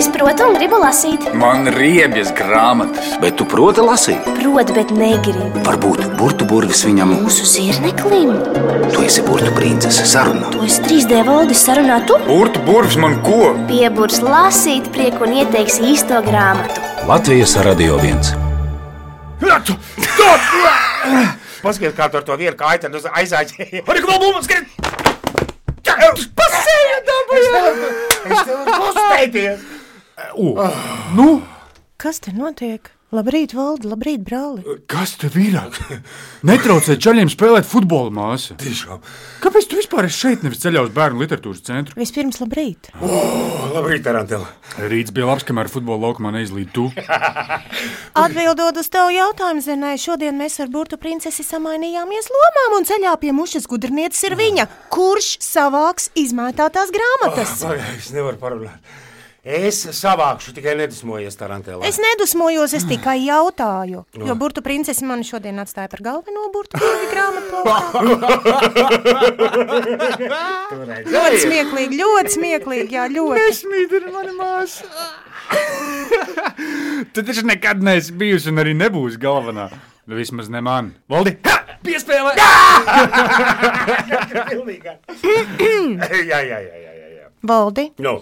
Es protu un gribu lasīt. Man riebjas grāmatas. Bet tu proti lasīt? Protu, bet negribu. Varbūt burbuļsaktas viņam. Mūsu zirneklim. Tu esi burbuļprincese sarunā. To es 3D valdi sarunā tu. Burbuļs, burbuļs man ko? Pieburs lasīt prieku un ieteiks īsto grāmatu. Latvijas radio viens. Paskaties, kā tur to vienu nu kaitu uz- aizaģēja. Arī kā būmas grib! Pasēja dabūjā! Es tev uzsteities! Kas te notiek? Labrīt, Valdi, labrīt, brāli. Kas tev ir? Netraucēt ceļiem spēlēt futbolu, māsa. Tiešām. Kāpēc tu vispār esi šeit, nevis ceļā uz bērnu literatūras centru? Vispirms, labrīt. Labrīt, Tarantela. Rīts bija labs, kamēr futbola laukumā neizlīd tu. Atbildot uz tavu jautājumu, Zenē, šodien mēs ar burbuļu princesi samainījāmies lomām, un ceļā pie mušas gudrnieces ir viņa, kurš savāks izmētātās grāmatas. Pagaid, Es nevaru parunāt. Es savākšu, tikai nedusmojies, Tarantela. Es nedusmojos, es tikai jautāju, jo burbuļu princese man šodien atstāja par galveno burbuļu grāmatu. Ļoti smieklīgi, ļoti smieklīgi, jā, ļoti. Mīdara, mana māsa. tu taču nekad neesi bijusi un arī nebūsi galvenā. Nu, Vismaz ne man. Valdi, Piespēlē! pilnīgi. jā, jā, jā, jā, jā, jā. Valdi, No.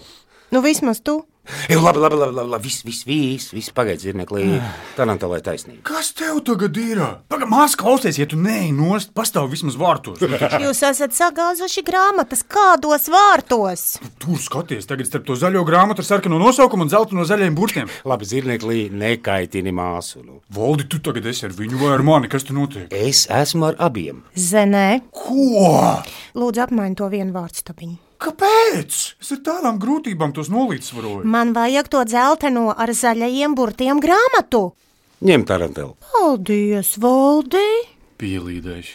nu vismaz tu. Jau labi, labi, labi, labi, labi. viss, viss, viss, viss pagaidz zirneklī. Tarantela ir taisnība. kas tev tagad ir? Pagaid, māsa klausies, ja tu neej nost, pastāv vismaz vārtos. Nu, taču Jūs esat sagāzuši grāmatas kādos vārtos? Tur skaties, tagad starp to zaļo grāmatu ar sarkanu nosaukumu un zelta no zaļajiem burtiem. Labi, zirneklī, nekaitini māsu. Nu. Valdi, tu tagad esi ar viņu vai ar mani? Kas tu notiek? Es esmu ar abiem. Zenē, Ko? lūdzu, apmaini to vienu vārdu stabiņu. Kāpēc? Es ar tādām grūtībām tos nolīdzsvaroju. Man vajag to dzelteno ar zaļajiem burtiem grāmatu. Ņem Tarantela. Paldies, Valdi! Pielīdēšu.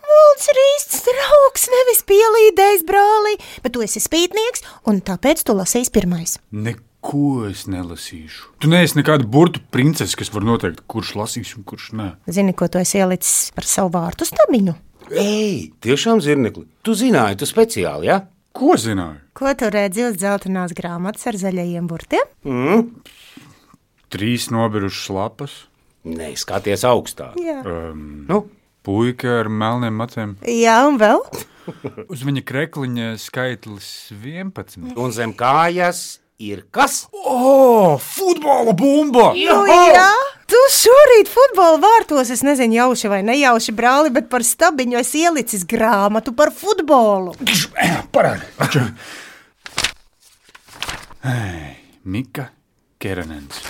Valds ir īsts draugs, nevis pielīdējis brāli, bet tu esi spītnieks, un tāpēc tu lasīsi pirmais. Neko es nelasīšu. Tu neesi nekāda burbuļu princese, kas var noteikt, kurš lasīs un kurš nē. Zini, ko tu esi ielicis par savu vārtu stabiņu? Ei, tiešām zirnekli. Tu zināji, tu speciāli, jā? Ja? Ko zināju? Ko tu redzi uz dzeltenās grāmatas ar zaļajiem burtiem? Trīs nobijušas lapas, Nē, skaties augstāk. Jā, Nu, puika ar melniem matiem. Jā un vēl? Uz viņa krekliņa skaitlis 11. un zem kājas ir kas? O, futbola bumba! Nu, jā, tu šorīt futbola vārtos, es nezinu, jauši vai nejauši brāli, bet par stabiņu es ielicis grāmatu par futbolu. Parādi! Mika Kerenens.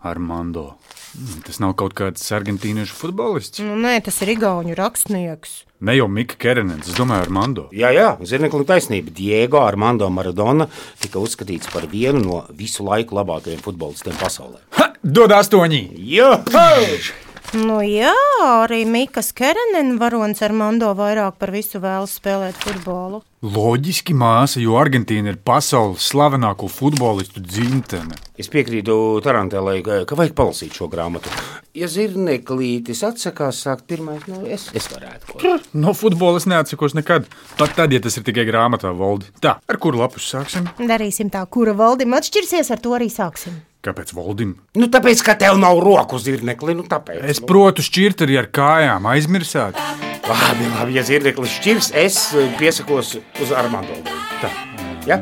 Armando. Mm, Tas nav kaut kāds argentīniešu futbolists. Nu, nē, tas ir Igaunijas rakstnieks. Ne jau Mika Kerenens, es domāju, Armando. Jā, jā, zirneklim taisnība. Diego Armando Maradona tika uzskatīts par vienu no visu laiku labākajiem futbolistiem pasaulē. Ha! Dod astoņi! Jā, Nu, jā, arī Mika Kerenena varonis ar Mando vairāk par visu vēlas spēlēt futbolu. Loģiski māsa, jo Argentīna ir pasaules slavenāko futbolistu dzimtene. es piekrītu Tarantēlai, ka ka vajag palasīt šo grāmatu. Ja zirneklītis atsakās sākt pirmais, nu es, es varētu kaut ko. No futbola es neatsakos nekad. Pat tad, ja tas ir tikai grāmatā, Valdi. Tā, ar kuru lapu sāksim? Darīsim tā, kura valdim atšķirsies, ar to arī sāksim. Kāpēc Valdim? Nu, tāpēc, ka tev nav roku zirnekli, nu tāpēc. Es protu šķirt arī ar kājām, aizmirsāt. Labi, labi, ja zirneklis šķirs, es eh, piesakos uz Armando. Tā. Ja?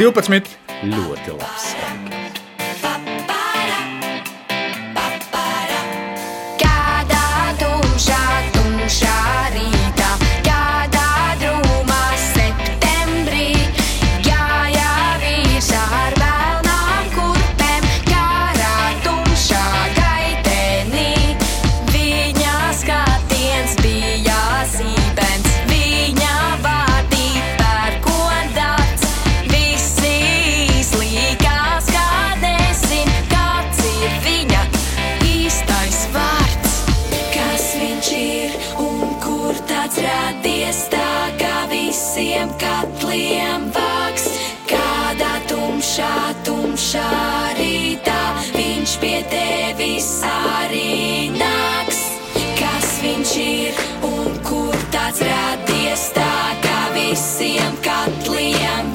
12. Ļoti labs. Kādā tumšā, tumšā rītā, kādā drūmā septembrī, gājā vīrsa ar melnām kurpēm, kārā tumšā gaitenī. Viņa skatiens bija sīpens, viņa vārdi pērkondāts, visi izlīgās, kā nezin, kāds ir viņa īstais vārds. Kas viņš ir un kur tāds radies tā, kā visiem katliem vāks? Kādā tumšā, tumšā rītā viņš pie tevis arī nāks. Kas viņš ir un kur tāds radies tā, kā visiem katliem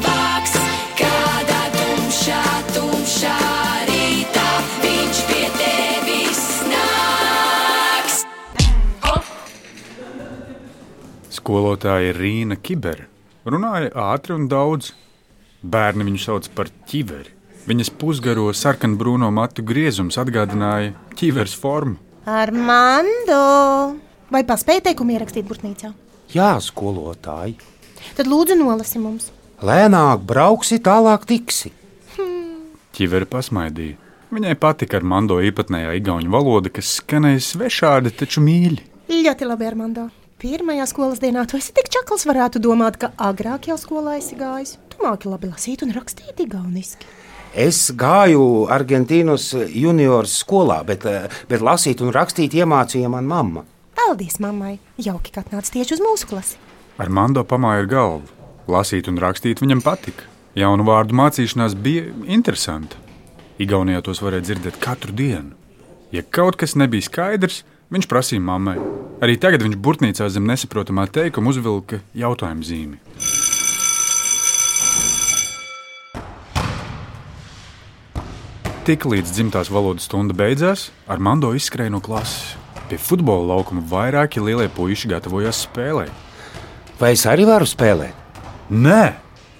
Skolotāja Rīna Kibere runāja ātri un daudz. Bērni viņu sauc par ķiveri. Viņas pusgaro sarkanbrūno matu griezums atgādināja ķiveres formu. Armando! Vai paspēji teikumu ierakstīt burtnīcā? Jā, skolotāji, Tad lūdzu nolasi mums. lēnāk brauksi, tālāk tiksi. Ķivere pasmaidīja. Viņai patika ar mando īpatnējā igauņu valoda, kas skanēja svešādi, taču mīļi. Ļoti labi, Armando. Pirmajā skolas dienā tu esi tik čakls, varētu domāt, ka agrāk jau skolā esi gājis. Tu māki labi lasīt un rakstīt igauniski. Es gāju Argentīnas juniors skolā, bet, eh, bet lasīt un rakstīt iemācīja man mamma. Paldies mammai! Jauki, ka atnāc tieši uz mūsu klasi. Ar mando pamāja ar galvu. Lasīt un rakstīt viņam patika. Jaunu vārdu mācīšanās bija interesanta. Igaunijā tos varēja dzirdēt katru dienu. Ja kaut kas nebija skaidrs, viņš prasīja mammai. Arī tagad viņš burtnīcā zem nesaprotamā teikuma uzvilka jautājumu zīmi. Tiklīdz dzimtās valodas stunda beidzās, Armando izskrēja no klases. Pie futbola laukuma vairāki lielie puiši gatavojās spēlei. Vai es arī varu spēlēt? Nē,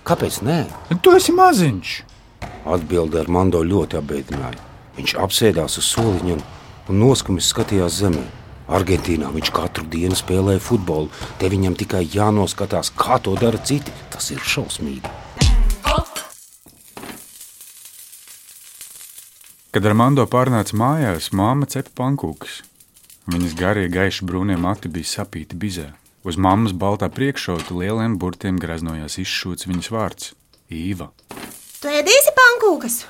Kāpēc nē? Tu esi maziņš. Atbilde ar Mando ļoti apbēdināja. Viņš apsēdās uz soliņa un- un noskumis skatījās zemē. Argentīnā viņš katru dienu spēlēja futbolu. Te viņam tikai jānoskatās, kā to dara citi. Tas ir šausmīgi. Kad Armando pārnāca mājās, māma cepa pankūkas. Viņas garie, gaiši brūnie mati bija sapīti bizē. Uz mammas baltā priekšrocības lieliem burtiem graznojās izšūts viņas vārds - Īva. Tu ēdīsi pankūkas!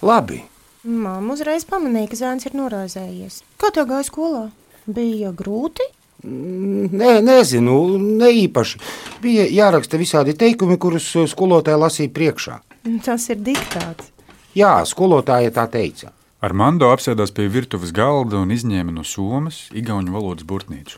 Labi, Māma uzreiz pamanīja, ka zēns ir noraizējies. Kā tev gāja skolā? Bija grūti. Nē, nezinu, ne īpaši. Bija jāraksta visādi teikumi, kurus eh, skolotāja lasīja priekšā. Tas ir diktāts. Jā, skolotāja tā teica. Armando apsēdās pie virtuves galda un izņēma no somas igauņu valodas burtnīcu.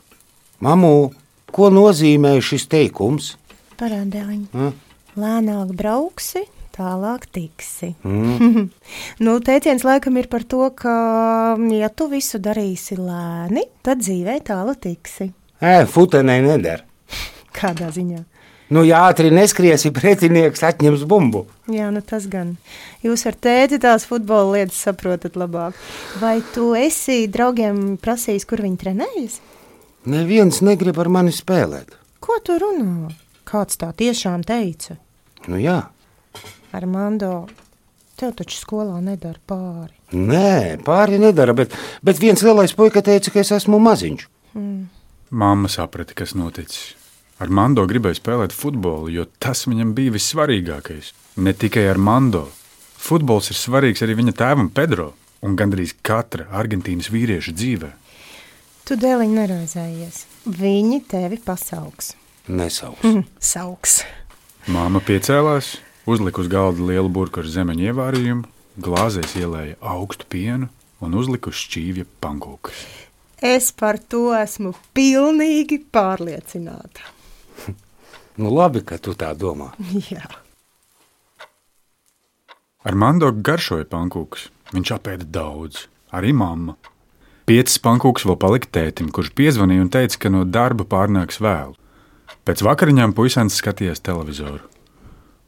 Mamu, ko nozīmē šis teikums? Parādēliņa. Mm. Lēnāk brauksi, tālāk tiksi. Mm. nu, teiciens laikam ir par to, ka, mm, ja tu visu darīsi lēni, tad dzīvē tālu tiksi. Ē, futenē neder. Kādā ziņā? Nu, ja ātri neskriesi, pretinieks atņems bumbu. Jā, nu tas gan. Jūs ar tēti tās futbola lietas saprotat labāk. Vai tu esi draugiem prasījis, kur viņi trenējas? Neviens negrib ar mani spēlēt. Ko tu runā? Kāds tā tiešām teica? Nu, jā, Armando, tev taču skolā nedara pāri. nē, pāri nedara, bet, bet viens lielais puika teica, ka es esmu maziņš. Māma saprata, kas noticis. Ar Mando gribēja spēlēt futbolu, jo tas viņam bija vissvarīgākais. Ne tikai ar Mando. Futbols ir svarīgs arī viņa tēvam Pedro un gandrīz katra Argentīnas vīrieša dzīvē. Tu dēliņ neraizējies. Viņi tevi pasauks. Nesauks. Mm. Sauks. Māma piecēlās, uzlika uz galda lielu burbuļu ar zemeņu ievārījumu, glāzēs ielēja augstu pienu un uzlika uz šķīvja pankūkas. Es par to esmu pilnīgi pārliecināta. Nu, labi, ka tu tā domā. Jā. Ar Mando garšoja pankūks. Viņš apēda daudz, arī mamma. Piecas pankūks vēl palika tētim, kurš piezvanīja un teica, ka no darba pārnāks vēlu. Pēc vakariņām puisēns skatījās televizoru.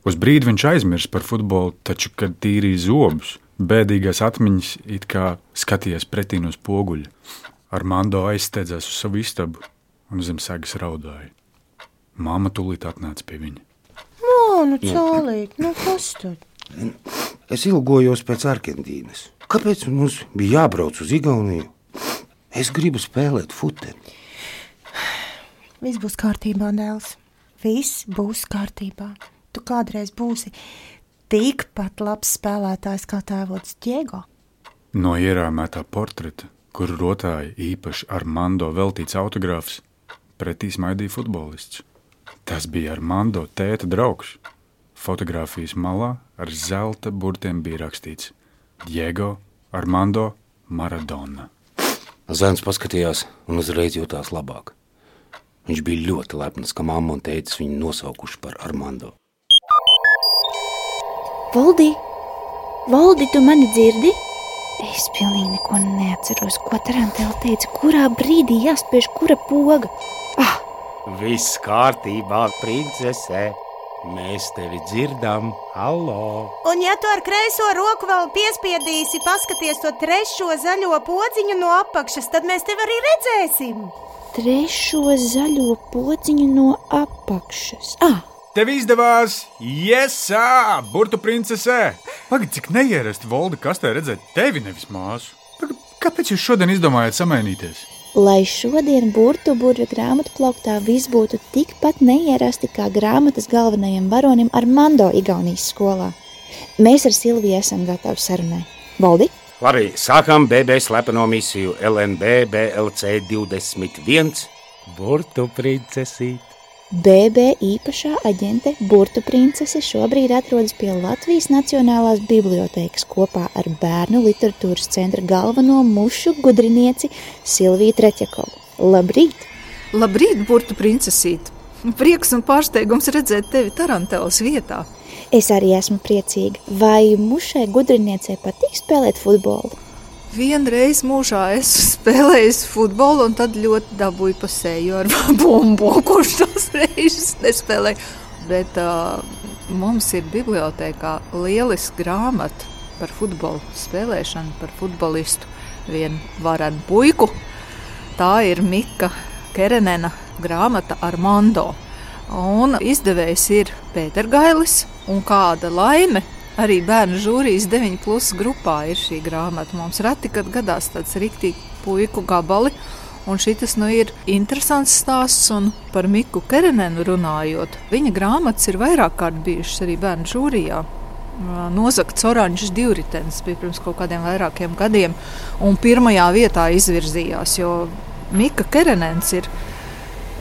Uz brīdi viņš aizmirsa par futbolu, taču, kad tīrīja zobus, bēdīgās atmiņas it kā skatījās pretī no spoguļa. Ar Mando aizsteidzās uz savu istabu un zem segas raudāja. Māma tūlīt atnāca pie viņa. O, nu cēlīt, nu kas tad? Es ilgojos pēc Argentīnas. Kāpēc mums bija jābrauc uz Igauniju? Es gribu spēlēt futbolu. Viss būs kārtībā, dēls. Viss būs kārtībā. Tu kādreiz būsi tikpat labs spēlētājs kā tēvots Diego. No ierāmētā portreta, kur rotāja īpaši Armando veltīts autogrāfs, pretī smaidīja futbolists. Tas bija Armando tēta draugs. Fotogrāfijas malā ar zelta burtiem bija rakstīts Diego Armando Maradona. Zēns paskatījās un uzreiz jutās labāk. Viņš bija ļoti lepns, ka mamma un tēvs viņu nosaukuši par Armando. Valdi, Valdi, tu mani dzirdi? Es pilnīgi neko neatceros, ko Tarantēla teica, kurā brīdī jāspiež kura poga. Ah, Viss kārtībā, princese. Mēs tevi dzirdam, alo! Un, ja tu ar kreiso roku vēl piespiedīsi, paskaties to trešo zaļo podziņu no apakšas, tad mēs tevi arī redzēsim. Trešo zaļo pociņu no apakšas. Ah, Tev izdevās! Iesā! Burtu princese! Pagaid, cik neierasti Volda kastē redzēt tevi nevis māsu. Pagad, kāpēc jūs šodien izdomājāt samainīties? lai šodien burbuļu grāmatu plauktā viss būtu tikpat neierasti kā grāmatas galvenajam varonim ar Mando Igaunijas skolā. Mēs ar Silviju esam gatavi sarunai. Valdi, Labi, sākam BB slepeno misiju LNB BLC 21. Burtu princesīt! BB īpašā aģente Burbuļu princese šobrīd atrodas pie Latvijas Nacionālās Bibliotēkas kopā ar Bērnu literatūras centra galveno mušu gudrinieci Silviju Tretjakovu. Labrīt! Labrīt, burbuļu princesīt! Prieks un pārsteigums redzēt tevi Tarantelas vietā. Es arī esmu priecīga. Vai mušai gudriniecei patīk spēlēt futbolu? Vienreiz mūžā esmu spēlējis futbolu, un tad ļoti dabūju pasēju ar bumbu, kurš tos reizes nespēlēja. Bet uh, mums ir bibliotekā lieliska grāmata par futbolu spēlēšanu, par futbolistu vienu varenu puiku. Tā ir Mika Kerenena grāmata Armando. Un izdevējs ir Pētergailis, un kāda laime! Arī bērnu žūrijas 9 plus grupā ir šī grāmata. Mums reti, kad gadās tāds riktīgi puiku gabali, un šis nu ir interesants stāsts. Un par Miku Kerenenu runājot, viņa grāmatas ir vairāk kārt bijušas arī bērnu žūrijā. Nozagts oranžs divritenis bija pirms kaut kādiem vairākiem gadiem, un pirmajā vietā izvirzījās. Jo Mika Kerenens ir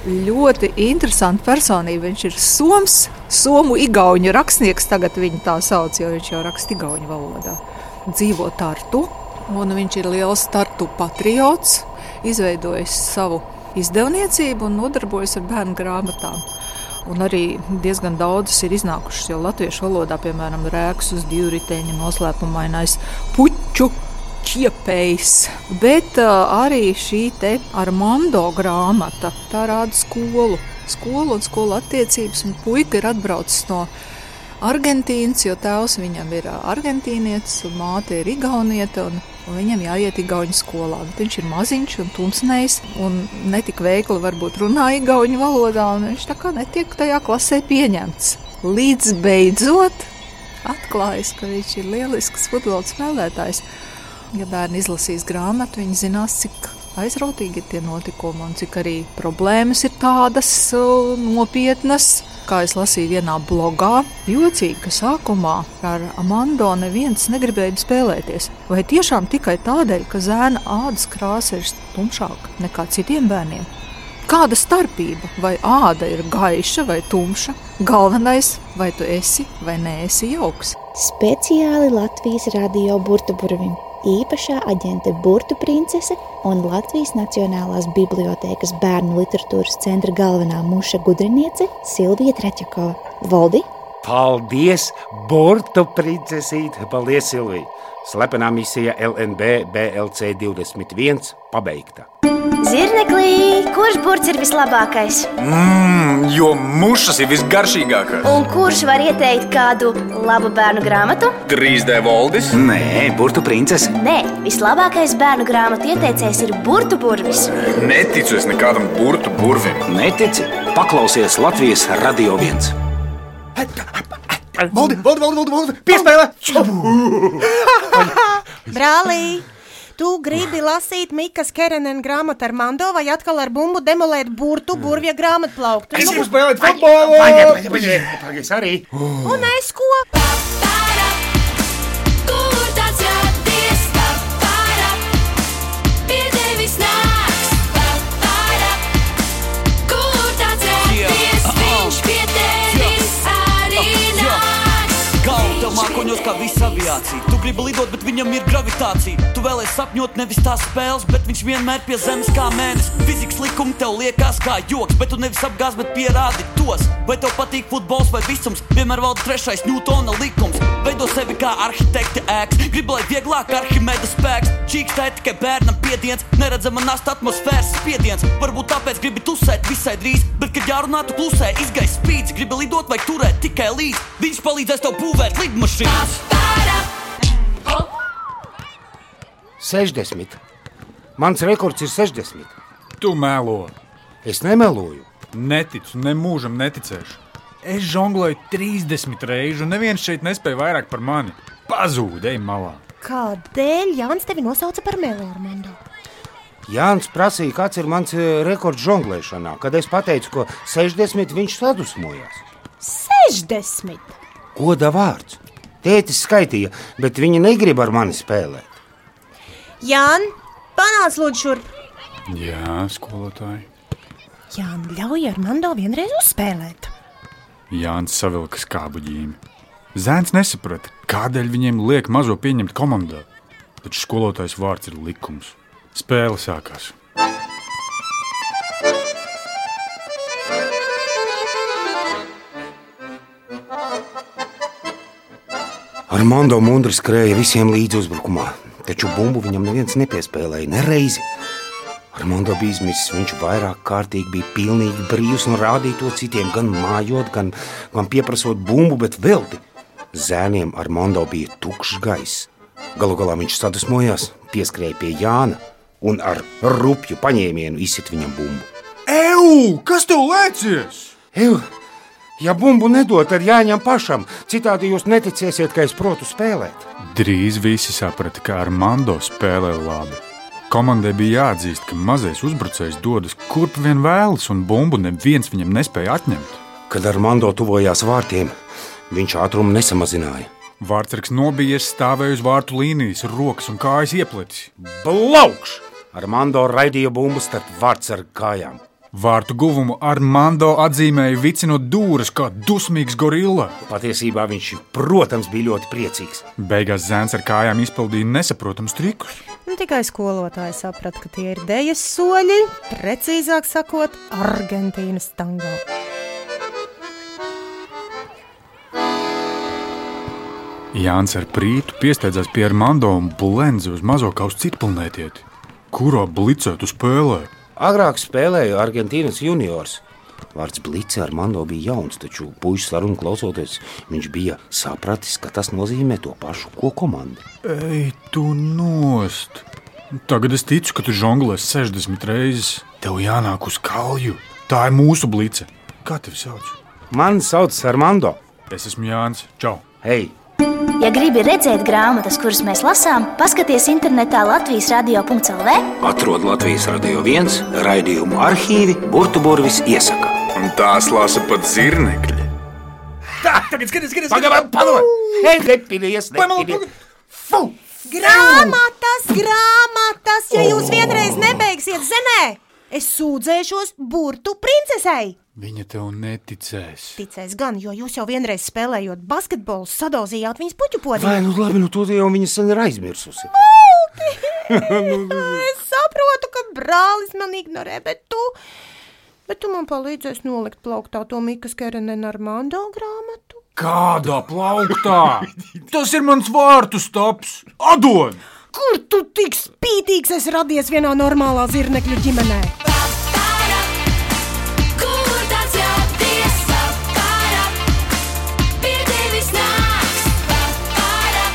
ļoti interesanta personība. Viņš ir soms, somu igauņu rakstnieks, tagad viņa tā sauc, jo viņš jau raksta igauņu valodā. Dzīvo Tartu, un viņš ir liels Tartu patriots, izveidojis savu izdevniecību un nodarbojas ar bērnu grāmatām. Un arī diezgan daudzas ir iznākušas jau latviešu valodā, piemēram, rēks uz divu riteņu, noslēpumainais puķu čiepējs. Bet uh, arī šī te Armando grāmata, tā rāda skolu, skolu un skolu attiecības, un puika ir atbraucis no Argentīnas, jo tēvs viņam ir ā, argentīnietis, un māte ir igaunieta, un, un viņam jāiet igauņu skolā. Bet viņš ir maziņš un tumsnējs, un netik veikli varbūt runā igauņu valodā, un viņš tā kā netiek tajā klasē pieņemts. Līdz beidzot atklājas, ka viņš ir lielisks futbola spēlētājs. Ja bērni izlasīs grāmatu, viņi zinās, cik aizrautīgi ir tie notikumi un cik arī problēmas ir tādas uh, nopietnas. Kā es lasīju vienā blogā, jocīgi, ka sākumā ar Amando neviens negribēja spēlēties. Vai tiešām tikai tādēļ, ka zēna ādas krāsa ir tumšāka nekā citiem bērniem? Kāda starpība? Vai āda ir gaiša vai tumša? Galvenais, vai tu esi vai neesi jauks. Speciāli Latvijas radio burbuļsakām, īpašā aģente Burbuļu princese un Latvijas Nacionālās Bibliotēkas bērnu literatūras centra galvenā muša gudriniece Silvija Tretjakova. Valdi, Paldies, Burbuļu princesīt! Paldies, Silvija! Slepenā misija LNB BLC 21 pabeigta. Zirneklī, kurš burts ir vislabākais? Mmm, jo mušas ir visgaršīgākās. Un kurš var ieteikt kādu labu bērnu grāmatu? 3D valdis, Nē, burtu princese. Nē, vislabākais bērnu grāmatu ieteicējs ir burbuļsaktas. neticu es nekādam burtu burvim. Netici, paklausies Latvijas radio viens. Valdi, valdi, valdi, valdi, valdi. piespēlē! Brālī, tu gribi lasīt Mikas Kerenena grāmatu ar Mando vai atkal ar bumbu demolēt burtu burvju grāmatu plauktu? Nu, gribu spēlēt futbolu! Paldies arī! un es ko? Papara, kur tāds radies? Papara, pie tevis nāks. Papara, kur tāds radies? Viņš pie tevis arī nāks. Gauta mākoņos kā visa aviācija. Tu grib lidot, bet viņam ir gravitācija. Tu vēlēsies sapņot nevis tās spēles, bet viņš vienmēr pie zemes kā mēnesis. Fizikas likumi tev liekas kā joks, bet tu nevis apgāz, bet pierādi tos. Vai tev patīk futbols vai visums? Vienmēr valda trešais Newtona likums. Veido sevi kā arhitekta ēks, grib lai vieglāk arhimēda spēks. Čīkstē tikai bērnam piediens, neredzama nasta atmosfēras spiediens. Varbūt tāpēc gribi tusēt visai drīz, bet kad jārunā, tu klusē, izgaisa spīdz, gribi lidot vai turēt tikai līdzi. Viņš palīdzēs tev būvēt lidmašīnas. 60. Mans rekords ir 60. Tu mēlo. Es nemeloju. Neticu, ne mūžam neticēšu. Es žonglēju 30 reizes, un neviens šeit nespēja vairāk par mani. Pazūdēji malā. Kādēļ Jānis tevi nosauca par melnāru? Jānis prasīja, kāds ir mans eh, rekords žonglēšanā. Kad es pateicu, ka 60 viņš sadusmojās. 60! Goda vārds. Tētis skaitīja, bet viņi negrib ar mani spēlēt. Jāni, panāc lūdzu šurp! Jā, skolotāji. Jāni, ļauj Armando vienreiz uzspēlēt. Jānis savilka skābu ģīmi. Zēns nesaprata, kādēļ viņiem liek mazo pieņemt komandā. Taču skolotājs vārds ir likums. Spēle sākās. Armando Mundri skrēja visiem līdzi uzbrukumā, taču bumbu viņam neviens nepiespēlēja nereizi. Armando bija izmisis, viņš vairāk kārtīgi bija pilnīgi brīvs un rādīja to citiem, gan mājot, gan, gan pieprasot bumbu, bet velti. Zēniem Armando bija tukšs gaiss. Galu galā viņš sadusmojās, pieskrēja pie Jāna un ar rupju paņēmienu izsit viņam bumbu. Eju, kas tev lēcies? Eju, ja bumbu nedod, tad jāņem pašam. Citādi jūs neticēsiet, ka es protu spēlēt. Drīz visi saprata, ka Armando spēlē labi. Komandai bija jāatzīst, ka mazais uzbrucējs dodas kurp vien vēlas, un bumbu neviens viņam nespēja atņemt. Kad Armando tuvojās vārtiem, viņš ātrumu nesamazināja. Vārtsargs nobijies, stāvēja uz vārtu līnijas, rokas un kājas iepletis. Blaukš! Armando raidīja bumbu starp vārtsargu kājām. Vārtu guvumu Armando atzīmēja vicinot dūrus kā dusmīgs gorilla. Patiesībā viņš, protams, bija ļoti priecīgs. Beigās zēns ar kājām izpildīja nesaprotamus trikus. Nu, tikai skolotāji saprata, ka tie ir dēļas soļi, precīzāk sakot, Argentīnas tango. Jānis ar prītu piesteidzās pie Armando un Blendzi uz mazo kā uz citu planētieti, kuro blicētu spēlē. Agrāk spēlēja Argentīnas juniors. Vārds Blīts ar Mando bija jauns, taču puikas sarunu klausoties, viņš bija sapratis, ka tas nozīmē to pašu, ko komanda. Ei, tu nost! Tagad es ticu, ka tu žonglēsi 60 reizes. Tev jānāk uz kalju. Tā ir mūsu blīce. Kā tevi sauc? Mani sauc Armando. Es esmu Jānis. Čau! Hei, Ja gribi redzēt grāmatas, kuras mēs lasām, paskaties internetā Latvijas radio.cl. Atrod Latvijas radio viens raidījumu arhīvi, burbuļsaktas iesaka. Un tās lasa pat zirnekļi. pagaidi, pagaidi! Nepilies, nepilies! Fu! Grāmatas, grāmatas, ja jūs vienreiz nebeigsiet zemē, es sūdzēšos burtu princesei. Viņa tev neticēs. Ticēs gan, jo jūs jau vienreiz spēlējot basketbolu, sadalījāt viņas puķu Vai podziņu. nu labi, nu to jau viņa sen ir aizmirsusi. Es saprotu, ka brālis man ignorē, bet tu, bet tu man palīdzēsi nolikt plauktā to Mikas Kerenena Armando grāmatu. Kādā plauktā? Tas ir mans vārtu stops! Adod! Kur tu tik spītīgs esi radies vienā normālā zirnekļu ģimenē? Kur tas jāties? Papara, pie tevis nāks. Papara,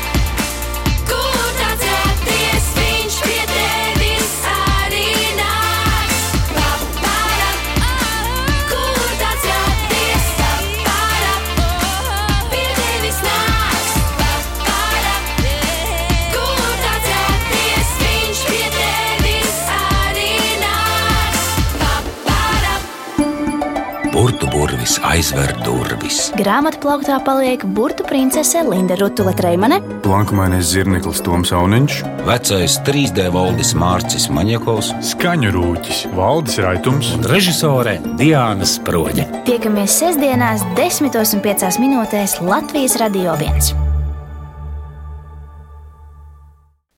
kur tas jāties? Viņš pie tevis arī nāks. Papara, kur tas jāties? Papara, pie tevis nāks. Papara, kur tas jāties? e. Viņš pie tevis arī nāks. Papara. Burbuļsaktas aizver durvis. Grāmatā plauktā paliek burtu princese Linda Rutula Treimane, Plankumainais zirneklis Toms Auniņš, Vecais 3D valdis Mārcis Maņakovs skaņu rūķis, valdes raitums. un režisore Diana Sproģa. Tiekamies sestdienās, 10.5 minūtēs Latvijas Radio 1.